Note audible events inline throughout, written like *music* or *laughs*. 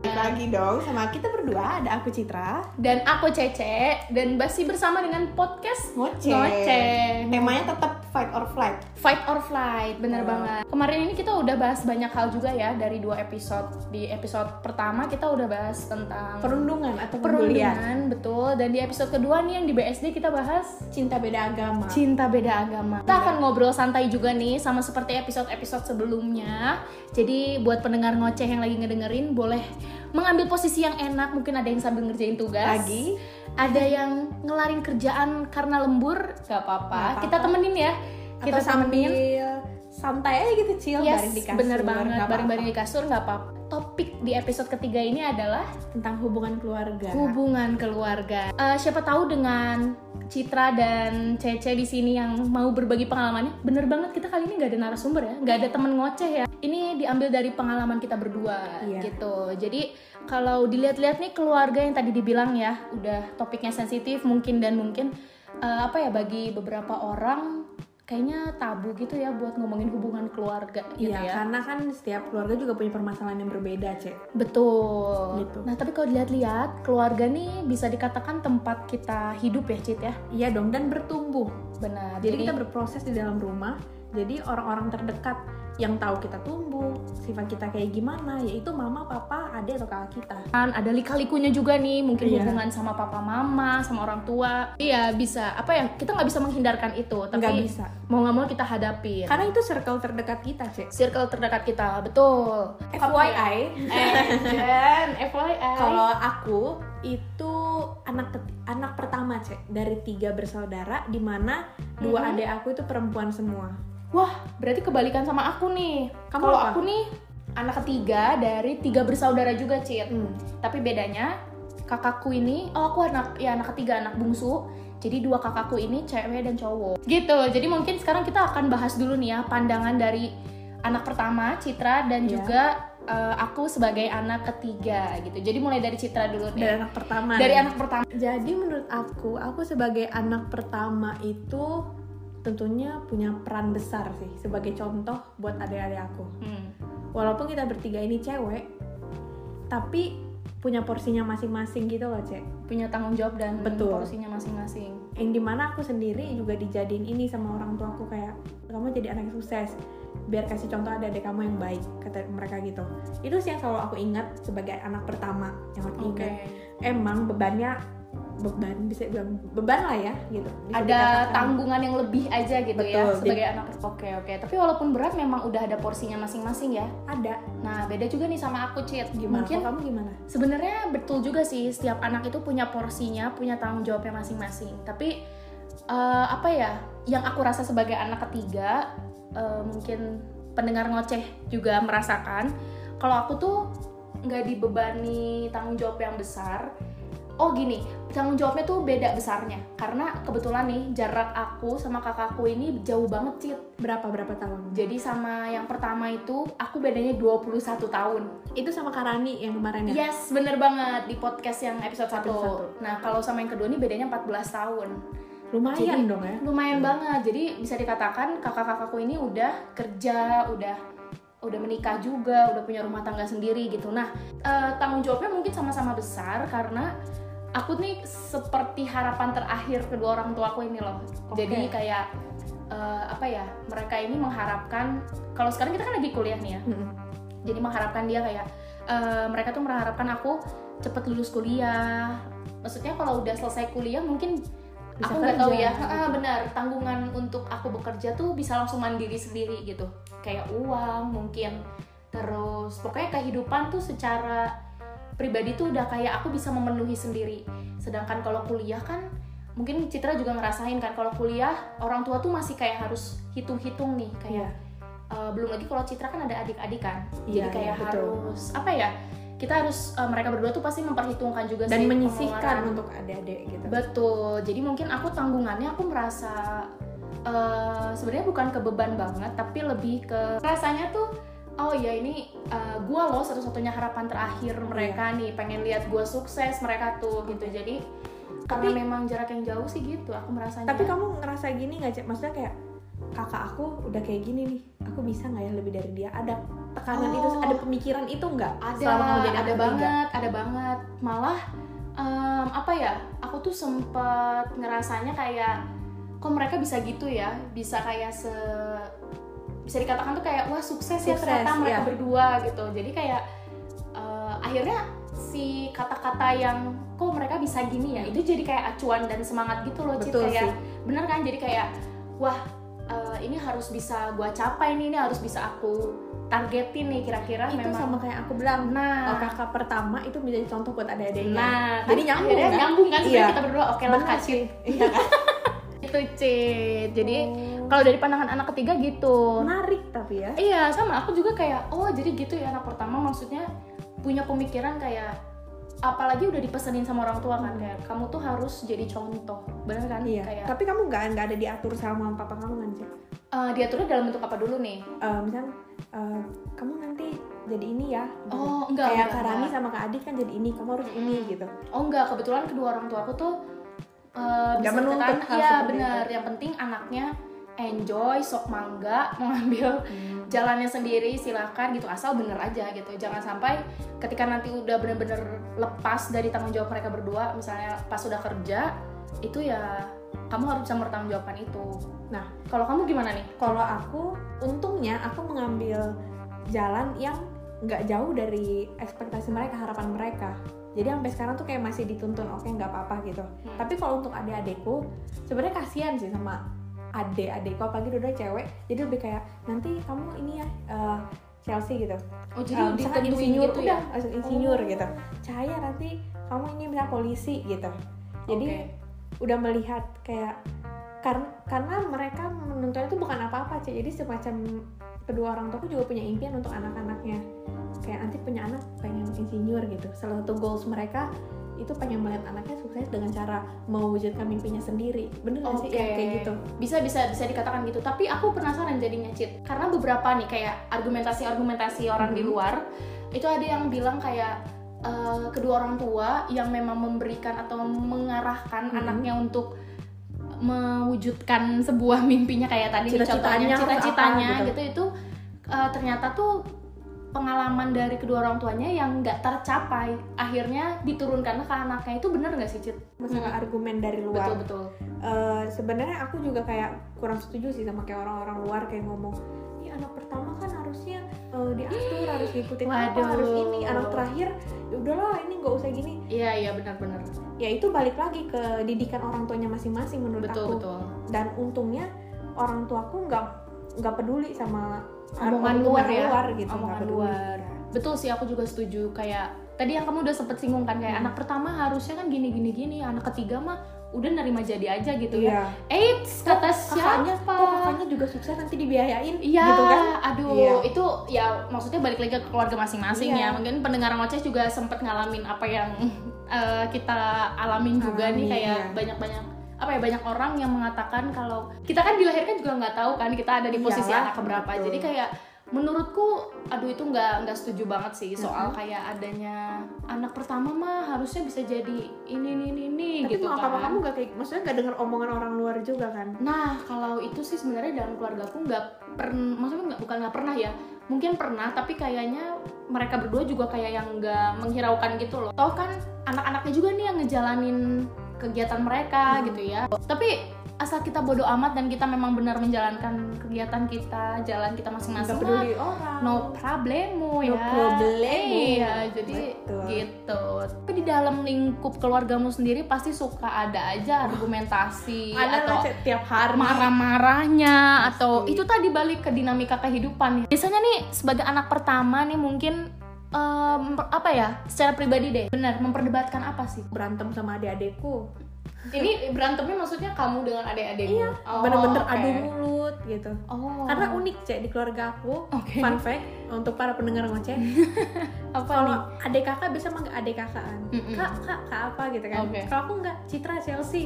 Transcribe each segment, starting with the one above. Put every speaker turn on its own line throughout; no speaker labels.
lagi dong sama kita berdua ada aku Citra.
Dan aku Cece dan masih bersama dengan podcast
Ngoceh.
Ngoceh.
Temanya tetap fight or flight.
Fight or flight, bener banget. Kemarin ini kita udah bahas banyak hal juga ya dari dua episode. Di episode pertama kita udah bahas tentang
Perundungan atau perundungan
perundingan, betul. Dan di episode kedua nih yang di BSD kita bahas
cinta beda agama.
cinta beda agama. Kita akan ngobrol santai juga nih sama seperti episode-episode sebelumnya. Jadi buat pendengar ngoceh yang lagi ngedengerin boleh mengambil posisi yang enak, mungkin ada yang sambil ngerjain tugas.
Lagi
Ada yang ngelarin kerjaan karena lembur, gak
Nggak
apa-apa.
apa-apa.
Kita temenin ya. Kita
atau sambil santai aja gitu chill
Yes,
bareng di kasur.
bener banget.
nggak apa-apa.
Bareng-bareng di kasur nggak apa-apa. Topik di episode ketiga ini adalah
tentang hubungan keluarga.
hubungan keluarga. Eh, siapa tahu dengan Citra dan Cece di sini yang mau berbagi pengalamannya, bener banget kita kali ini nggak ada narasumber ya, nggak ada temen ngoceh ya. Ini diambil dari pengalaman kita berdua
Iya.
gitu. Jadi kalau dilihat-lihat nih keluarga yang tadi dibilang ya, udah topiknya sensitif mungkin dan mungkin eh, apa ya bagi beberapa orang kayaknya tabu gitu ya buat ngomongin hubungan keluarga gitu
Iya,
ya.
karena kan setiap keluarga juga punya permasalahan yang berbeda, Cek.
Betul.
Gitu.
Nah, tapi kalau dilihat-lihat, keluarga nih bisa dikatakan tempat kita hidup ya, Cit ya.
Iya dong, dan bertumbuh.
Benar.
Jadi kita berproses di dalam rumah. Jadi orang-orang terdekat yang tahu kita tumbuh, sifat kita kayak gimana, yaitu mama, papa, adik atau kakak kita.
kan ada lika-likunya juga nih, mungkin
Iya.
hubungan sama papa mama, sama orang tua. Iya, bisa. Apa ya? Kita nggak bisa menghindarkan itu, tapi
Nggak bisa. Kan
mau nggak mau kita hadapi.
Karena itu circle terdekat kita, Cek.
Circle terdekat kita, betul. Eh,
FYI,
dan FYI.
kalau aku itu anak keti- anak pertama, Cek, dari tiga bersaudara di mana
Mhm.
dua adik aku itu perempuan semua.
Wah, berarti kebalikan sama aku nih.
Kamu
Kalau
apa?
aku nih anak ketiga dari tiga bersaudara juga, Cit. tapi bedanya kakakku ini oh aku anak ya anak ketiga anak bungsu jadi dua kakakku ini cewek dan cowok gitu jadi mungkin sekarang kita akan bahas dulu nih ya pandangan dari anak pertama Citra dan
Iya.
juga eh, aku sebagai anak ketiga gitu jadi mulai dari Citra dulu
Dari
nih
anak pertama.
dari
nih.
anak pertama
Jadi menurut aku, aku sebagai anak pertama itu tentunya punya peran besar sih sebagai contoh buat adik-adik aku.
Hmm,
Walaupun kita bertiga ini cewek, tapi punya porsinya masing-masing gitu loh, Cek.
punya tanggung jawab dan
Betul.
porsinya masing-masing
Yang dimana aku sendiri juga dijadiin ini sama orang tua aku kayak, kamu jadi anak yang sukses, biar kasih contoh adik-adik kamu yang baik, kata mereka gitu. Itu sih yang selalu aku ingat sebagai anak pertama yang aku ingat. Emang bebannya beban bisa bilang beban lah ya gitu Bisa
ada
dikatakan.
tanggungan yang lebih aja gitu ya
Betul,
sebagai anak oke oke tapi walaupun berat memang udah ada porsinya masing-masing ya
ada
nah beda juga nih sama aku Cit
gimana
mungkin
Kalau kamu gimana
Sebenarnya betul juga sih setiap anak itu punya porsinya, punya tanggung jawabnya masing-masing. Tapi eh, apa ya, yang aku rasa sebagai anak ketiga, eh, mungkin pendengar ngoceh juga merasakan, kalau aku tuh nggak dibebani tanggung jawab yang besar. Oh gini, tanggung jawabnya tuh beda besarnya. Karena kebetulan nih jarak aku sama kakakku ini jauh banget, Cit.
berapa berapa tahun
Jadi sama yang pertama itu aku bedanya 21 tahun.
itu sama Karani yang kemarin ya
Yes, bener banget di podcast yang episode 1.
Episode satu.
Nah, kalau sama yang kedua ini bedanya 14 tahun.
lumayan
Jadi-
dong ya
Lumayan banget. Jadi bisa dikatakan kakak-kakakku ini udah kerja, udah udah menikah juga, udah punya rumah tangga sendiri gitu. Nah, eh, tanggung jawabnya mungkin sama-sama besar karena aku nih seperti harapan terakhir kedua orang tuaku ini loh.
Oke.
Jadi kayak eh, apa ya? Mereka ini mengharapkan kalau sekarang kita kan lagi kuliah nih ya
Mm-mm.
jadi mengharapkan dia kayak eh, mereka tuh mengharapkan aku cepet lulus kuliah maksudnya kalau udah selesai kuliah mungkin
Bisa
aku nggak tahu
kerja.
ya ah, benar tanggungan untuk aku bekerja tuh bisa langsung mandiri sendiri gitu kayak uang mungkin terus pokoknya kehidupan tuh secara pribadi tuh udah kayak aku bisa memenuhi sendiri sedangkan kalau kuliah kan mungkin Citra juga ngerasain kan kalau kuliah orang tua tuh masih kayak harus hitung-hitung nih kayak
Iya.
Uh, belum lagi kalau Citra kan ada adik-adik kan jadi
Iya,
kayak
iya, betul.
harus apa ya kita harus uh, mereka berdua tuh pasti memperhitungkan juga
dan
sih
menyisihkan
pengeluaran.
untuk adik-adik gitu
betul jadi mungkin aku tanggungannya aku merasa uh, sebenarnya bukan ke beban banget tapi lebih ke rasanya tuh oh ya ini uh, gua loh satu-satunya harapan terakhir
Iya.
mereka nih pengen lihat gua sukses mereka tuh gitu jadi karena
Tapi-
memang jarak yang jauh sih gitu aku merasanya
tapi kamu ngerasa gini nggak cek maksudnya kayak kakak aku udah kayak gini nih aku bisa nggak ya lebih dari dia ada tekanan
Hmm. Oh.
itu ada pemikiran itu nggak
ada
selama kamu jadi
ada
anak ketiga?
banget ada banget malah em, apa ya aku tuh sempet ngerasanya kayak kok mereka bisa gitu ya bisa kayak se bisa dikatakan tuh kayak wah sukses, ya
Sukses,
ternyata mereka
ya.
berdua gitu jadi kayak eh, akhirnya si kata-kata yang kok mereka bisa gini ya itu jadi kayak acuan dan semangat gitu loh Cit.
betul
kayak
sih
bener kan jadi kayak wah eh, ini harus bisa gua capai nih ini harus bisa aku targetin nih kira-kira
itu
Kan memang
sama kayak aku bilang
nah
oh, kakak pertama itu menjadi contoh buat *laughs* adik-adiknya
Nah,
Jadi nyambung,
akhirnya
kan?
nyambung kan sebenarnya
Iya.
kita berdua oke lah
Benar
Kak
sih.
Cit.
kan?
Itu Cit. Jadi kalau dari pandangan anak ketiga gitu.
Oh. menarik tapi ya
Iya, sama aku juga kayak oh jadi gitu ya anak pertama maksudnya punya pemikiran kayak apalagi udah dipesenin sama orang tua kan kayak kamu tuh harus jadi contoh. Bener kan?
iya
Kayak
tapi kamu nggak nggak ada diatur sama papa kamu kan sih
eh, diaturnya dalam bentuk apa dulu nih?
Eh, misalnya eh, kamu nanti jadi ini ya
Oh, enggak.
kayak
enggak,
Karani
enggak.
sama Kak Adi kan jadi ini kamu harus ini gitu
Oh enggak, kebetulan kedua orang tua aku tuh eh,
Nggak
bisa
menuntut
dikatakan-
hal
Iya
seperti
bener, yang penting anaknya enjoy, sok mangga, mengambil jalannya sendiri silakan gitu asal bener aja gitu jangan sampai ketika nanti udah bener-bener lepas dari tanggung jawab mereka berdua misalnya pas udah kerja itu ya kamu harus bisa mempertanggungjawabkan itu
Nah.
kalau kamu gimana nih
kalau aku untungnya aku mengambil jalan yang nggak jauh dari ekspektasi mereka harapan mereka jadi sampai sekarang tuh kayak masih dituntun oke nggak apa-apa gitu
Hmm.
tapi kalau untuk adik-adikku sebenarnya kasihan sih sama adik-adikku apalagi udah cewek jadi lebih kayak nanti kamu ini ya eh, Chelsea gitu
oh jadi
Eh, misalkan
ditentuin
insinyur
gitu
udah
ya
langsung insinyur gitu cahaya nanti kamu ini misalnya polisi gitu jadi
Oke.
udah melihat kayak karena karena mereka menuntutnya itu bukan apa-apa Ci. jadi semacam kedua orang tuaku juga punya impian untuk anak-anaknya kayak nanti punya anak pengen insinyur gitu salah satu goals mereka itu pengen melihat anaknya sukses dengan cara mewujudkan mimpinya sendiri bener nggak sih
Oke.
ya, kayak gitu
bisa bisa bisa dikatakan gitu tapi aku penasaran jadinya Cit karena beberapa nih kayak argumentasi argumentasi orang di
Mhm.
luar itu ada yang bilang kayak eh, kedua orang tua yang memang memberikan atau mengarahkan
Mhm.
anaknya untuk mewujudkan sebuah mimpinya kayak tadi nih
Cita-citanya
contohnya
atau apa
cita-citanya
gitu.
gitu itu eh, ternyata tuh pengalaman dari kedua orang tuanya yang nggak tercapai akhirnya diturunkan ke anaknya itu bener nggak sih Cit?
masalah
Mhm.
argumen dari luar
Betul betul.
Eh, sebenarnya aku juga kayak kurang setuju sih sama kayak orang-orang luar kayak ngomong ini anak pertama kan harusnya eh, diatur harus ngikutin apa
Waduh.
harus ini anak terakhir ya udahlah ini nggak usah gini
Iya iya benar-benar.
ya itu balik lagi ke didikan orang tuanya masing-masing menurut
Betul
aku
betul.
dan untungnya orang tuaku nggak nggak peduli sama
Omongan
argumen
luar ya.
luar gitu nggak
Omongan
peduli
luar. Betul sih aku juga setuju kayak tadi yang kamu udah sempet singgung kan kayak
Hmm.
anak pertama harusnya kan gini gini gini, anak ketiga mah udah nerima jadi aja gitu ya.
iya
Eits, kata
kakaknya
siapa?
kok kakaknya juga sukses nanti dibiayain
Iya,
gitu kan
aduh,
Iya.
itu ya maksudnya balik lagi ke keluarga masing-masing ya.
Iya.
Mungkin pendengar ngoceh juga sempet ngalamin apa yang *laughs* eh, kita alamin juga nih
Alamin,
kayak
iya.
banyak-banyak apa ya banyak orang yang mengatakan kalau kita kan dilahirkan juga nggak tahu kan kita ada di posisi
Iyalah,
anak keberapa.
Iya, betul.
Jadi kayak menurutku aduh itu nggak nggak setuju banget sih soal kayak adanya anak pertama mah harusnya bisa jadi ini ini ini, ini
tapi
gitu
mau
kan.
apa kamu nggak kayak maksudnya nggak dengar omongan orang luar juga kan
Nah, kalau itu sih sebenarnya dalam keluarga aku nggak pernah, maksudnya nggak bukan nggak pernah ya, mungkin pernah, tapi kayaknya mereka berdua juga kayak yang nggak menghiraukan gitu loh. Toh kan anak-anaknya juga nih yang ngejalanin kegiatan mereka
Hmm.
gitu ya. Tapi asal kita bodoh amat dan kita memang benar menjalankan kegiatan kita, jalan kita masing-masing,
nggak
mah,
peduli orang
no problemo ya.
No problemo.
Iya, jadi
Betul.
gitu. Tapi di dalam lingkup keluargamu sendiri pasti suka ada aja argumentasi
ada
atau
lah tiap hari
marah-marahnya atau
Pasti.
itu tadi balik ke dinamika kehidupan ya. Biasanya nih sebagai anak pertama nih mungkin em, apa ya secara pribadi deh benar memperdebatkan apa sih
berantem sama adik-adikku
ini berantemnya maksudnya kamu dengan adik-adikmu
Iya,
Oh,
bener-bener
oke.
adu mulut gitu
oh
karena unik cek di keluarga aku
Oke.
fun fact untuk para pendengar ngoceh
*laughs* apa nih
kalau adik kakak bisa manggil adik kakaan
Mm-mm.
kak kak kak apa gitu kan
Oke. Oh,
kalau aku nggak Citra Chelsea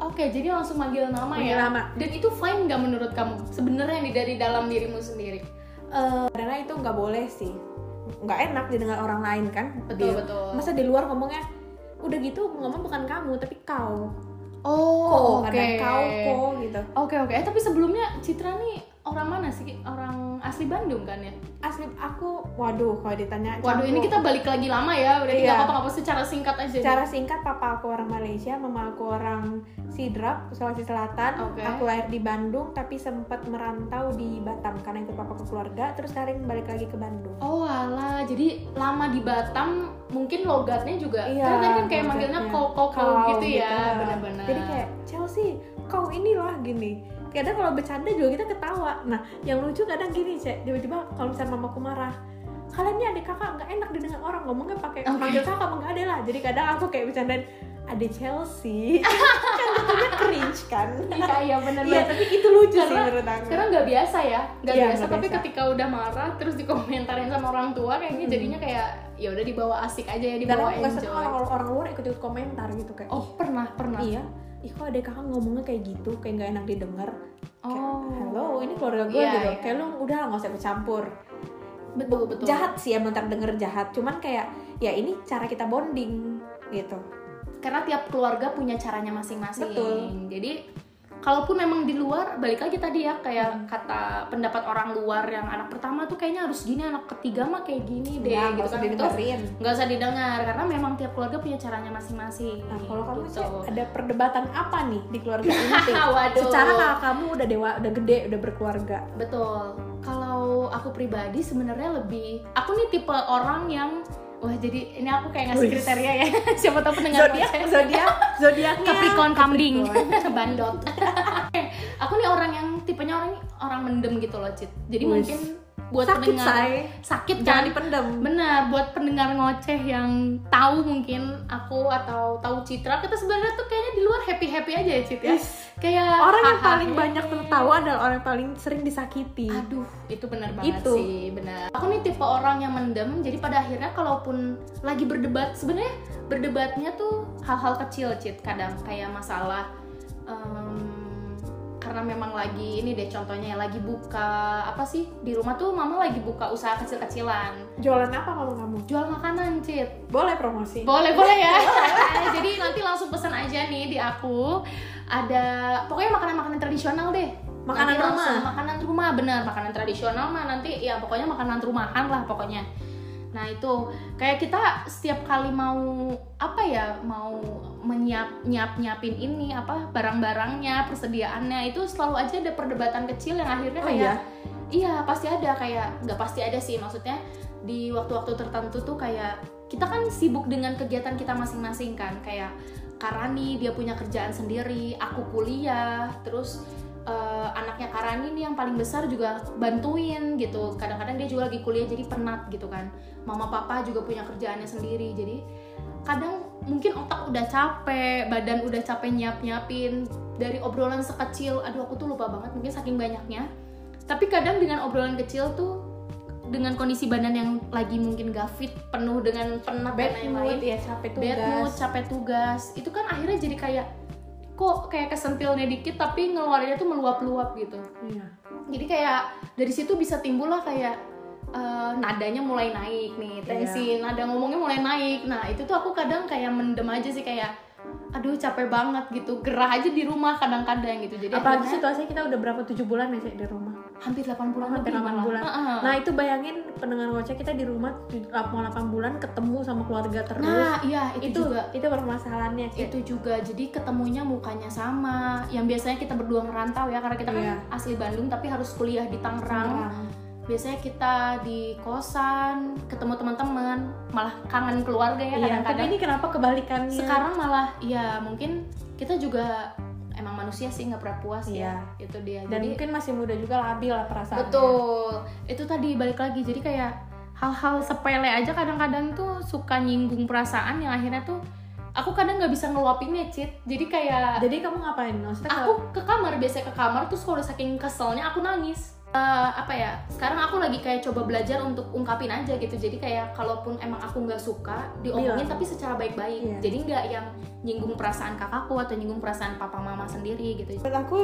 oke jadi langsung manggil nama ya
Manggil nama.
dan itu fine nggak menurut kamu sebenarnya nih dari dalam dirimu sendiri
padahal Eh, itu nggak boleh sih nggak enak didengar orang lain kan
betul
Di-
betul
masa di luar ngomongnya udah gitu ngomong bukan kamu tapi kau
oh
Ko,
oke Oh,
kadang kau kok gitu
Oke oke, Eh, tapi sebelumnya Citra nih orang mana sih Ki? orang asli Bandung kan ya
asli aku waduh kalau ditanya
waduh ini
campur.
kita balik lagi lama ya berarti
Iya.
nggak apa-apa secara singkat aja nih.
Secara singkat, papa aku orang Malaysia, mama aku orang Sidrap, Sulawesi Selatan.
Oke.
Aku lahir di Bandung, tapi sempat merantau di Batam karena ikut papa ke keluarga. Terus sekarang balik lagi ke Bandung.
Oh ala, jadi lama di Batam mungkin logatnya juga
Iya,
kan kan kayak
logatnya.
manggilnya kau kau kau
Kau
gitu ya,
gitu.
benar-benar.
Jadi kayak Chelsea, kau inilah gini. Kadang kalau bercanda juga kita ketawa. Nah, yang lucu kadang gini cek tiba-tiba kalau misalnya mamaku marah, kalian ini adik kakak nggak enak didengar orang ngomongnya pakai
Oke.
manggil kakak apa nggak ada lah. Jadi kadang aku kayak bercandain ada Chelsea *laughs* kan tentunya cringe kan.
Iya, iya benar
Iya, tapi itu lucu sih
Karena
menurut aku.
Sekarang nggak biasa ya, nggak
Iya,
biasa.
nggak
Tapi
biasa. Hmm.
ketika udah marah terus dikomentarin sama orang tua kayaknya jadinya kayak ya udah dibawa asik aja ya
Dan
dibawa
aku nggak
enjoy.
seneng kalau orang luar ikut-ikut komentar gitu kayak.
Oh pernah pernah.
Iya, ih kok ada kakak ngomongnya kayak gitu, kayak nggak enak didengar. Kayak,
Oh.
Hello, ini keluarga gue
Iya,
gitu.
iya.
Kayak lu udah nggak usah ikut campur.
Betul betul.
Jahat sih emang terdengar jahat, cuman kayak ya ini cara kita bonding gitu.
Karena tiap keluarga punya caranya masing-masing.
Betul.
Jadi kalaupun memang di luar balik lagi tadi ya
Hmm.
kayak kata pendapat orang luar yang anak pertama tuh kayaknya harus gini anak ketiga mah kayak gini deh
Ya, nggak
gitu
usah
kan itu
didengerin.
nggak usah didengar karena memang tiap keluarga punya caranya masing-masing.
Nah, kalau kamu
gitu. Ah,
sih ada perdebatan apa nih di keluarga ini?
*laughs*
Sih?
Waduh.
Secara kakak kamu udah dewa, udah gede, udah berkeluarga.
Betul. Kalau aku pribadi sebenarnya lebih aku nih tipe orang yang wah jadi ini aku kayak ngasih
Wih.
kriteria ya. *laughs* Siapa tahu pendengar
Zodiak,
saya.
zodiak, zodiak
Capricorn kambing, *laughs* bandot. *laughs* Eh, aku nih orang yang tipenya orang orang mendem gitu loh, Cit. Jadi
Wih.
mungkin buat
sakit
pendengar
say,
sakit kan
jangan dipendem.
Benar, buat pendengar ngoceh yang tahu mungkin aku atau tahu Citra, kita sebenarnya tuh kayaknya di luar happy-happy aja ya, Cit ya.
Yes.
Kayak
Orang yang
hahaha,
paling banyak
hehehe.
tertawa adalah orang yang paling sering disakiti.
Aduh, itu benar banget
Iya. Itu.
sih, benar. Aku nih tipe orang yang mendem, jadi pada akhirnya kalaupun lagi berdebat, sebenarnya berdebatnya tuh hal-hal kecil, Cit. Kadang kayak masalah em, karena memang lagi ini deh contohnya lagi buka apa sih di rumah tuh mama lagi buka usaha kecil-kecilan
Jualan apa mama kamu?
jual makanan cit
Boleh promosi.
boleh boleh ya *laughs* jadi nanti langsung pesan aja nih di aku ada pokoknya makanan makanan tradisional deh
Makanan
Nanti langsung
rumah.
makanan rumah bener makanan tradisional mah nanti ya pokoknya makanan rumahan lah pokoknya nah itu kayak kita setiap kali mau apa ya mau menyiap nyiap nyiapin ini apa barang-barangnya persediaannya itu selalu aja ada perdebatan kecil yang akhirnya
Oh
kayak
iya?
Iya pasti ada kayak nggak pasti ada sih maksudnya di waktu-waktu tertentu tuh kayak kita kan sibuk dengan kegiatan kita masing-masing kan kayak Karani dia punya kerjaan sendiri, aku kuliah, terus eh, anaknya Karani nih yang paling besar juga bantuin gitu. Kadang-kadang dia juga lagi kuliah jadi penat gitu kan. Mama papa juga punya kerjaannya sendiri jadi kadang mungkin otak udah capek, badan udah capek nyiap-nyiapin dari obrolan sekecil, aduh aku tuh lupa banget mungkin saking banyaknya. Tapi kadang dengan obrolan kecil tuh dengan kondisi badan yang lagi mungkin gak fit, penuh dengan penat
Bad
dan lain-lain,
mood, ya capek
bad mood,
tugas.
capek tugas, itu kan akhirnya jadi kayak kok kayak kesentilnya dikit tapi ngeluarinnya tuh meluap-luap gitu
Iya.
jadi kayak dari situ bisa timbul lah kayak eh, nadanya mulai naik nih
Iya.
tensi nada ngomongnya mulai naik nah itu tuh aku kadang kayak mendem aja sih kayak aduh capek banget gitu gerah aja di rumah kadang-kadang gitu jadi
Apalagi
akhirnya
situasinya kita udah berapa tujuh bulan ya Cek, di rumah.
hampir 8 bulan
Hampir
lebih
8
malah.
bulan.
Heeh.
Nah itu bayangin pendengar ngoceh kita di rumah tuj- mau 8 bulan ketemu sama keluarga terus.
nah iya itu,
itu
juga
itu permasalahannya Cek.
itu juga jadi ketemunya mukanya sama yang biasanya kita berdua ngerantau ya karena kita kan
Iya.
asli Bandung tapi harus kuliah di Tangerang
Orang.
biasanya kita di kosan ketemu teman-teman malah kangen keluarga ya
Iya, tapi
kadang-kadang
ini kenapa kebalikannya?
sekarang malah ya mungkin kita juga emang manusia sih nggak pernah puas ya itu dia
Iya. dan
jadi
mungkin masih muda juga labil lah perasaan.
betul itu tadi balik lagi jadi kayak hal-hal sepele aja kadang-kadang tuh suka nyinggung perasaan yang akhirnya tuh aku kadang nggak bisa ngeluapinnya cit jadi kayak
Jadi kamu ngapain? Maksudnya
aku ke kamar biasanya ke kamar terus kalau udah saking keselnya aku nangis Eh, apa ya sekarang aku lagi kayak coba belajar untuk ungkapin aja gitu jadi kayak kalaupun emang aku nggak suka diomongin
Bilang.
tapi secara baik-baik
Iya.
jadi nggak yang nyinggung perasaan kakakku atau nyinggung perasaan papa mama sendiri gitu
menurut aku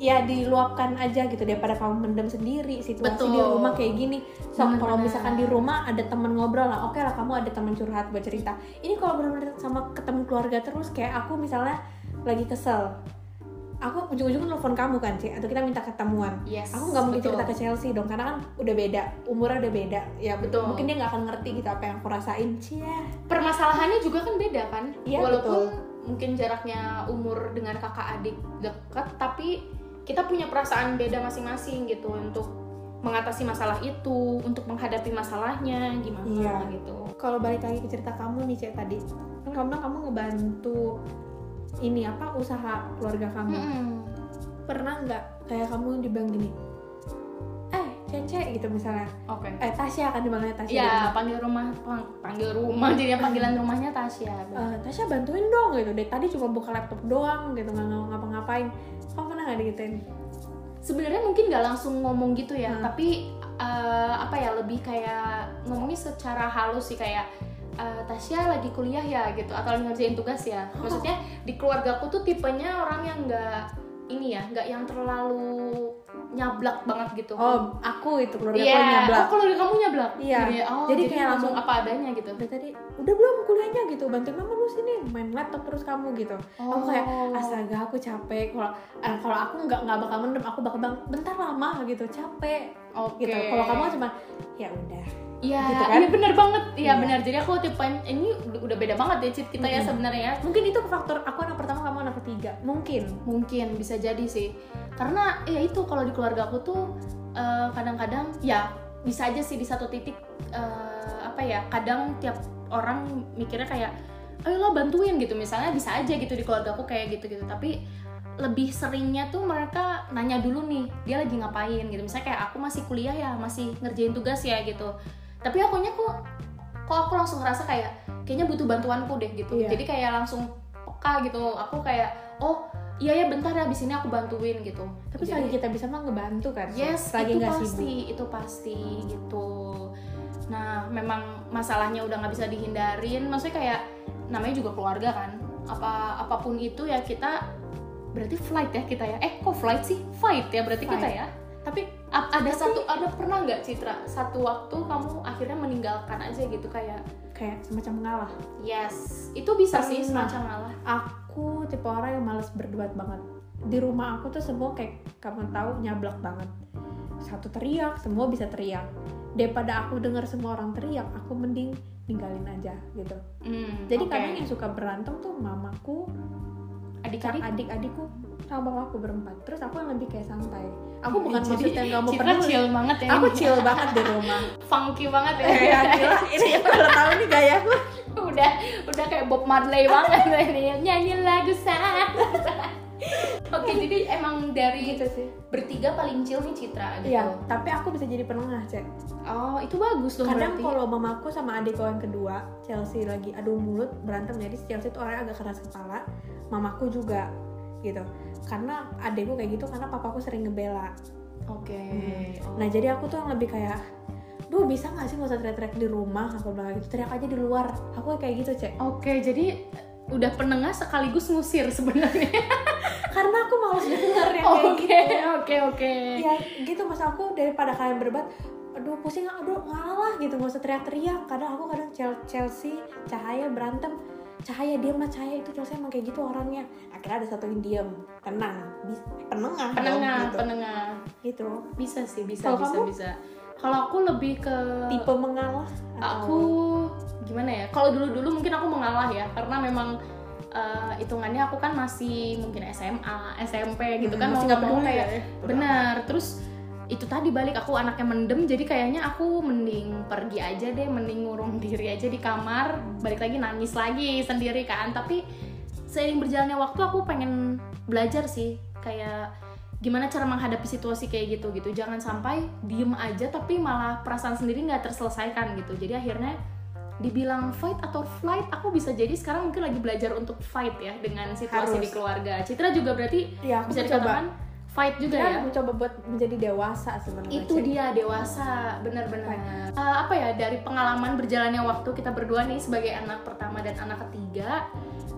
ya diluapkan aja gitu daripada kamu mendem sendiri situasi
Betul.
di rumah kayak gini so
Bener-bener.
kalau misalkan di rumah ada teman ngobrol lah oke lah kamu ada teman curhat buat cerita ini kalau benar-benar sama ketemu keluarga terus kayak aku misalnya lagi kesel aku ujung-ujungnya nelfon kamu kan sih atau kita minta ketemuan
Yes.
aku nggak mungkin
betul.
cerita ke Chelsea dong karena kan udah beda umurnya udah beda ya
Betul.
mungkin dia nggak akan ngerti gitu apa yang aku rasain cia
Permasalahannya juga kan beda kan.
Iya,
Walaupun
betul.
mungkin jaraknya umur dengan kakak adik dekat, tapi kita punya perasaan beda masing-masing gitu untuk mengatasi masalah itu, untuk menghadapi masalahnya gimana
Iya.
gitu.
kalau balik lagi ke cerita kamu nih Cia tadi kan kamu bilang kamu ngebantu ini apa usaha keluarga kamu pernah nggak kayak kamu dibilang gini eh Cece gitu misalnya
Oke.
eh Tasya kan dibilangnya Tasya gitu.
Ya, panggil rumah, pang- panggil rumah. *laughs* Jadi panggilan rumahnya Tasya.
Eh, Tasya bantuin dong gitu dari tadi cuma buka laptop doang gitu nggak ngapa- ngapa-ngapain kamu pernah nggak digituin
sebenarnya mungkin nggak langsung ngomong gitu ya
Hmm.
tapi eh, apa ya lebih kayak ngomongnya secara halus sih kayak eh, Tasya lagi kuliah ya gitu atau lagi ngerjain tugas ya
Hmm.
maksudnya di keluargaku tuh tipenya orang yang nggak ini ya nggak yang terlalu nyablak banget gitu
oh aku itu keluarga
Iya,
aku nyablak
oh kalau di kamu nyablak?
Iya.
Jadi, oh,
Jadi
jadi,
kayak
langsung
langsung-
apa adanya gitu.
udah tadi udah belum kuliahnya gitu bantuin mama lu sini main laptop terus kamu gitu aku kayak
Oh,
astaga aku capek kalau eh, kalau aku nggak nggak bakal mendem aku bakal bang bentar lama gitu capek
Oke.
gitu kalau kamu cuma ya udah
Iya,
Gitu kan?
iya benar banget. Iya,
Iya.
benar. Jadi aku tipe ini udah beda banget ya cit kita ya
Mm-mm.
sebenarnya.
mungkin itu faktor aku anak pertama kamu anak ketiga mungkin
mungkin bisa jadi sih karena ya itu kalau di keluarga aku tuh eh, kadang-kadang ya bisa aja sih di satu titik eh, apa ya kadang tiap orang mikirnya kayak ayolah bantuin gitu misalnya bisa aja gitu di keluarga aku kayak gitu gitu tapi lebih seringnya tuh mereka nanya dulu nih dia lagi ngapain gitu misalnya kayak aku masih kuliah ya masih ngerjain tugas ya gitu tapi akunya kok kok aku langsung ngerasa kayak kayaknya butuh bantuanku deh gitu
Iya.
jadi kayak langsung peka gitu aku kayak oh iya ya bentar ya abis ini aku bantuin gitu
tapi
Jadi-
selagi kita bisa mah ngebantu kan
Yes,
selagi
itu
nggak
pasti,
sibuk
itu pasti gitu. Nah, memang masalahnya udah nggak bisa dihindarin. Maksudnya kayak namanya juga keluarga kan. Apa apapun itu ya kita berarti flight ya kita ya. Eh, kok flight sih? Fight ya berarti kita
Fight.
ya. Tapi a- ada satu ada pernah nggak Citra satu waktu kamu akhirnya meninggalkan aja gitu kayak
kayak semacam mengalah
yes itu bisa sih
Pernah.
semacam malah
aku tipe orang yang males berdebat banget di rumah aku tuh semua kayak kamu tahu nyablak banget satu teriak semua bisa teriak daripada aku dengar semua orang teriak aku mending ninggalin aja gitu
Hmm,
jadi
oke.
kadang yang suka berantem tuh mamaku
adik-adik
adik-adikku sama bapakku berempat terus aku yang lebih kayak santai aku bukan
Jadi,
maksudnya nggak mau
Citra
peduli
chill banget ya
aku
ini.
chill banget di
*laughs*
rumah
funky banget ya
ya gila *laughs* ini kalau tahu nih gayaku
udah udah kayak Bob Marley banget *laughs* loh ini nyanyi lagu saat oke jadi emang dari
gitu sih
bertiga paling chill nih Citra gitu
iya tapi aku bisa jadi penengah cek
oh itu bagus dong
kadang
berarti
kalau mamaku sama adikku yang kedua Chelsea lagi adu mulut berantem jadi si Chelsea itu orangnya agak keras kepala mamaku juga gitu karena adikku kayak gitu karena papaku sering ngebela
oke oh. Hmm.
nah jadi aku tuh yang lebih kayak duh bisa nggak sih nggak usah teriak-teriak di rumah aku bilang gitu teriak aja di luar aku kayak gitu cek
oke jadi udah penengah sekaligus ngusir sebenarnya
karena aku males denger yang kayak
oke
gitu
oke Oh, oke
ya gitu mas aku daripada kalian berdebat aduh pusing aduh ngalah lah gitu nggak usah teriak-teriak kadang aku kadang Chel- Chelsea cahaya berantem cahaya dia sama cahaya itu Chelsea emang kayak gitu orangnya akhirnya ada satu yang diem tenang Bis- penengah dong,
penengah
gitu,
penengah
gitu.
bisa sih bisa
Kalau
bisa
kamu?
bisa kalau aku lebih ke
tipe mengalah
aku gimana ya kalau dulu dulu mungkin aku mengalah ya karena memang eh, hitungannya aku kan masih mungkin SMA SMP gitu kan
masih
mau
nggak
ngomong
peduli
kayak
ya
benar terus itu tadi balik aku anaknya mendem jadi kayaknya aku mending pergi aja deh mending ngurung *laughs* diri aja di kamar balik lagi nangis lagi sendiri kan tapi seiring berjalannya waktu aku pengen belajar sih kayak gimana cara menghadapi situasi kayak gitu gitu jangan sampai diem aja tapi malah perasaan sendiri nggak terselesaikan gitu jadi akhirnya dibilang fight atau flight aku bisa jadi sekarang mungkin lagi belajar untuk fight ya dengan situasi
Harus.
di keluarga Citra juga berarti
ya aku
bisa
coba Iya,
dikatakan fight juga ya
aku coba buat menjadi dewasa sebenarnya
itu
Cek.
dia dewasa benar-benar Eh, apa ya dari pengalaman berjalannya waktu kita berdua nih sebagai anak pertama dan anak ketiga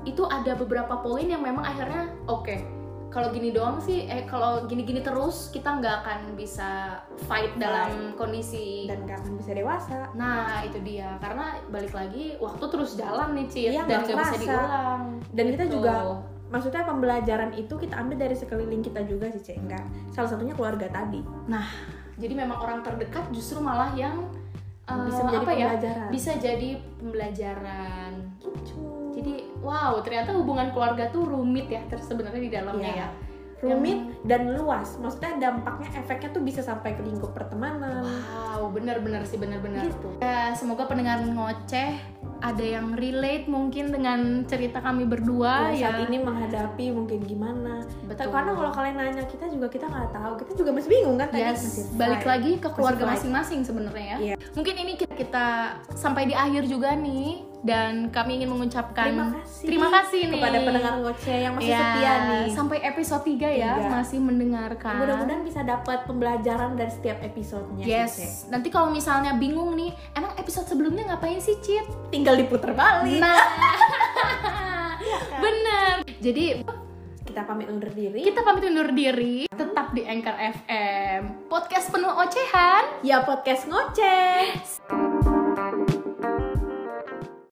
itu ada beberapa poin yang memang akhirnya oke kalau gini doang sih eh kalau gini-gini terus kita nggak akan bisa fight dalam kondisi
dan gak akan bisa dewasa
nah itu dia karena balik lagi waktu terus jalan nih Cit
Iya,
dan nggak
nggak
bisa
kerasa.
diulang
Dan kita
Gitu.
juga maksudnya pembelajaran itu kita ambil dari sekeliling kita juga sih cek enggak salah satunya keluarga tadi
Jadi memang orang terdekat justru malah yang eh,
bisa menjadi
apa ya?
pembelajaran
Bisa jadi pembelajaran.
Gitu.
Jadi wow, ternyata hubungan keluarga tuh rumit ya ter- sebenarnya di dalamnya
Iya.
ya.
rumit dan luas maksudnya dampaknya efeknya tuh bisa sampai ke lingkup pertemanan
Wow, benar-benar sih benar-benar.
gitu
Ya, semoga pendengar ngoceh ada yang relate mungkin dengan cerita kami berdua ya.
Ya, saat ini menghadapi mungkin gimana
Betul.
karena kalau kalian nanya kita juga kita nggak tahu kita juga masih bingung kan tadi Masih
Yes, balik
fine.
lagi ke keluarga
fine.
masing-masing sebenarnya ya.
Iya.
Mungkin ini kita, kita sampai di akhir juga nih dan kami ingin mengucapkan
terima kasih
kan. terima kasih nih
kepada pendengar ngoceh yang masih
Ya,
setia nih Iya.
Sampai episode 3 ya
Tiga.
masih mendengarkan.
mudah-mudahan bisa dapat pembelajaran dari setiap episodenya
Yes.
Cece.
Ya, gitu Nanti kalau misalnya bingung nih, emang episode sebelumnya ngapain sih, Cit?
tinggal diputer balik
Nah. *laughs* Bener. Jadi
kita pamit undur diri
kita pamit undur diri, tetap di Anchor FM. Podcast penuh ocehan.
ya podcast ngoceh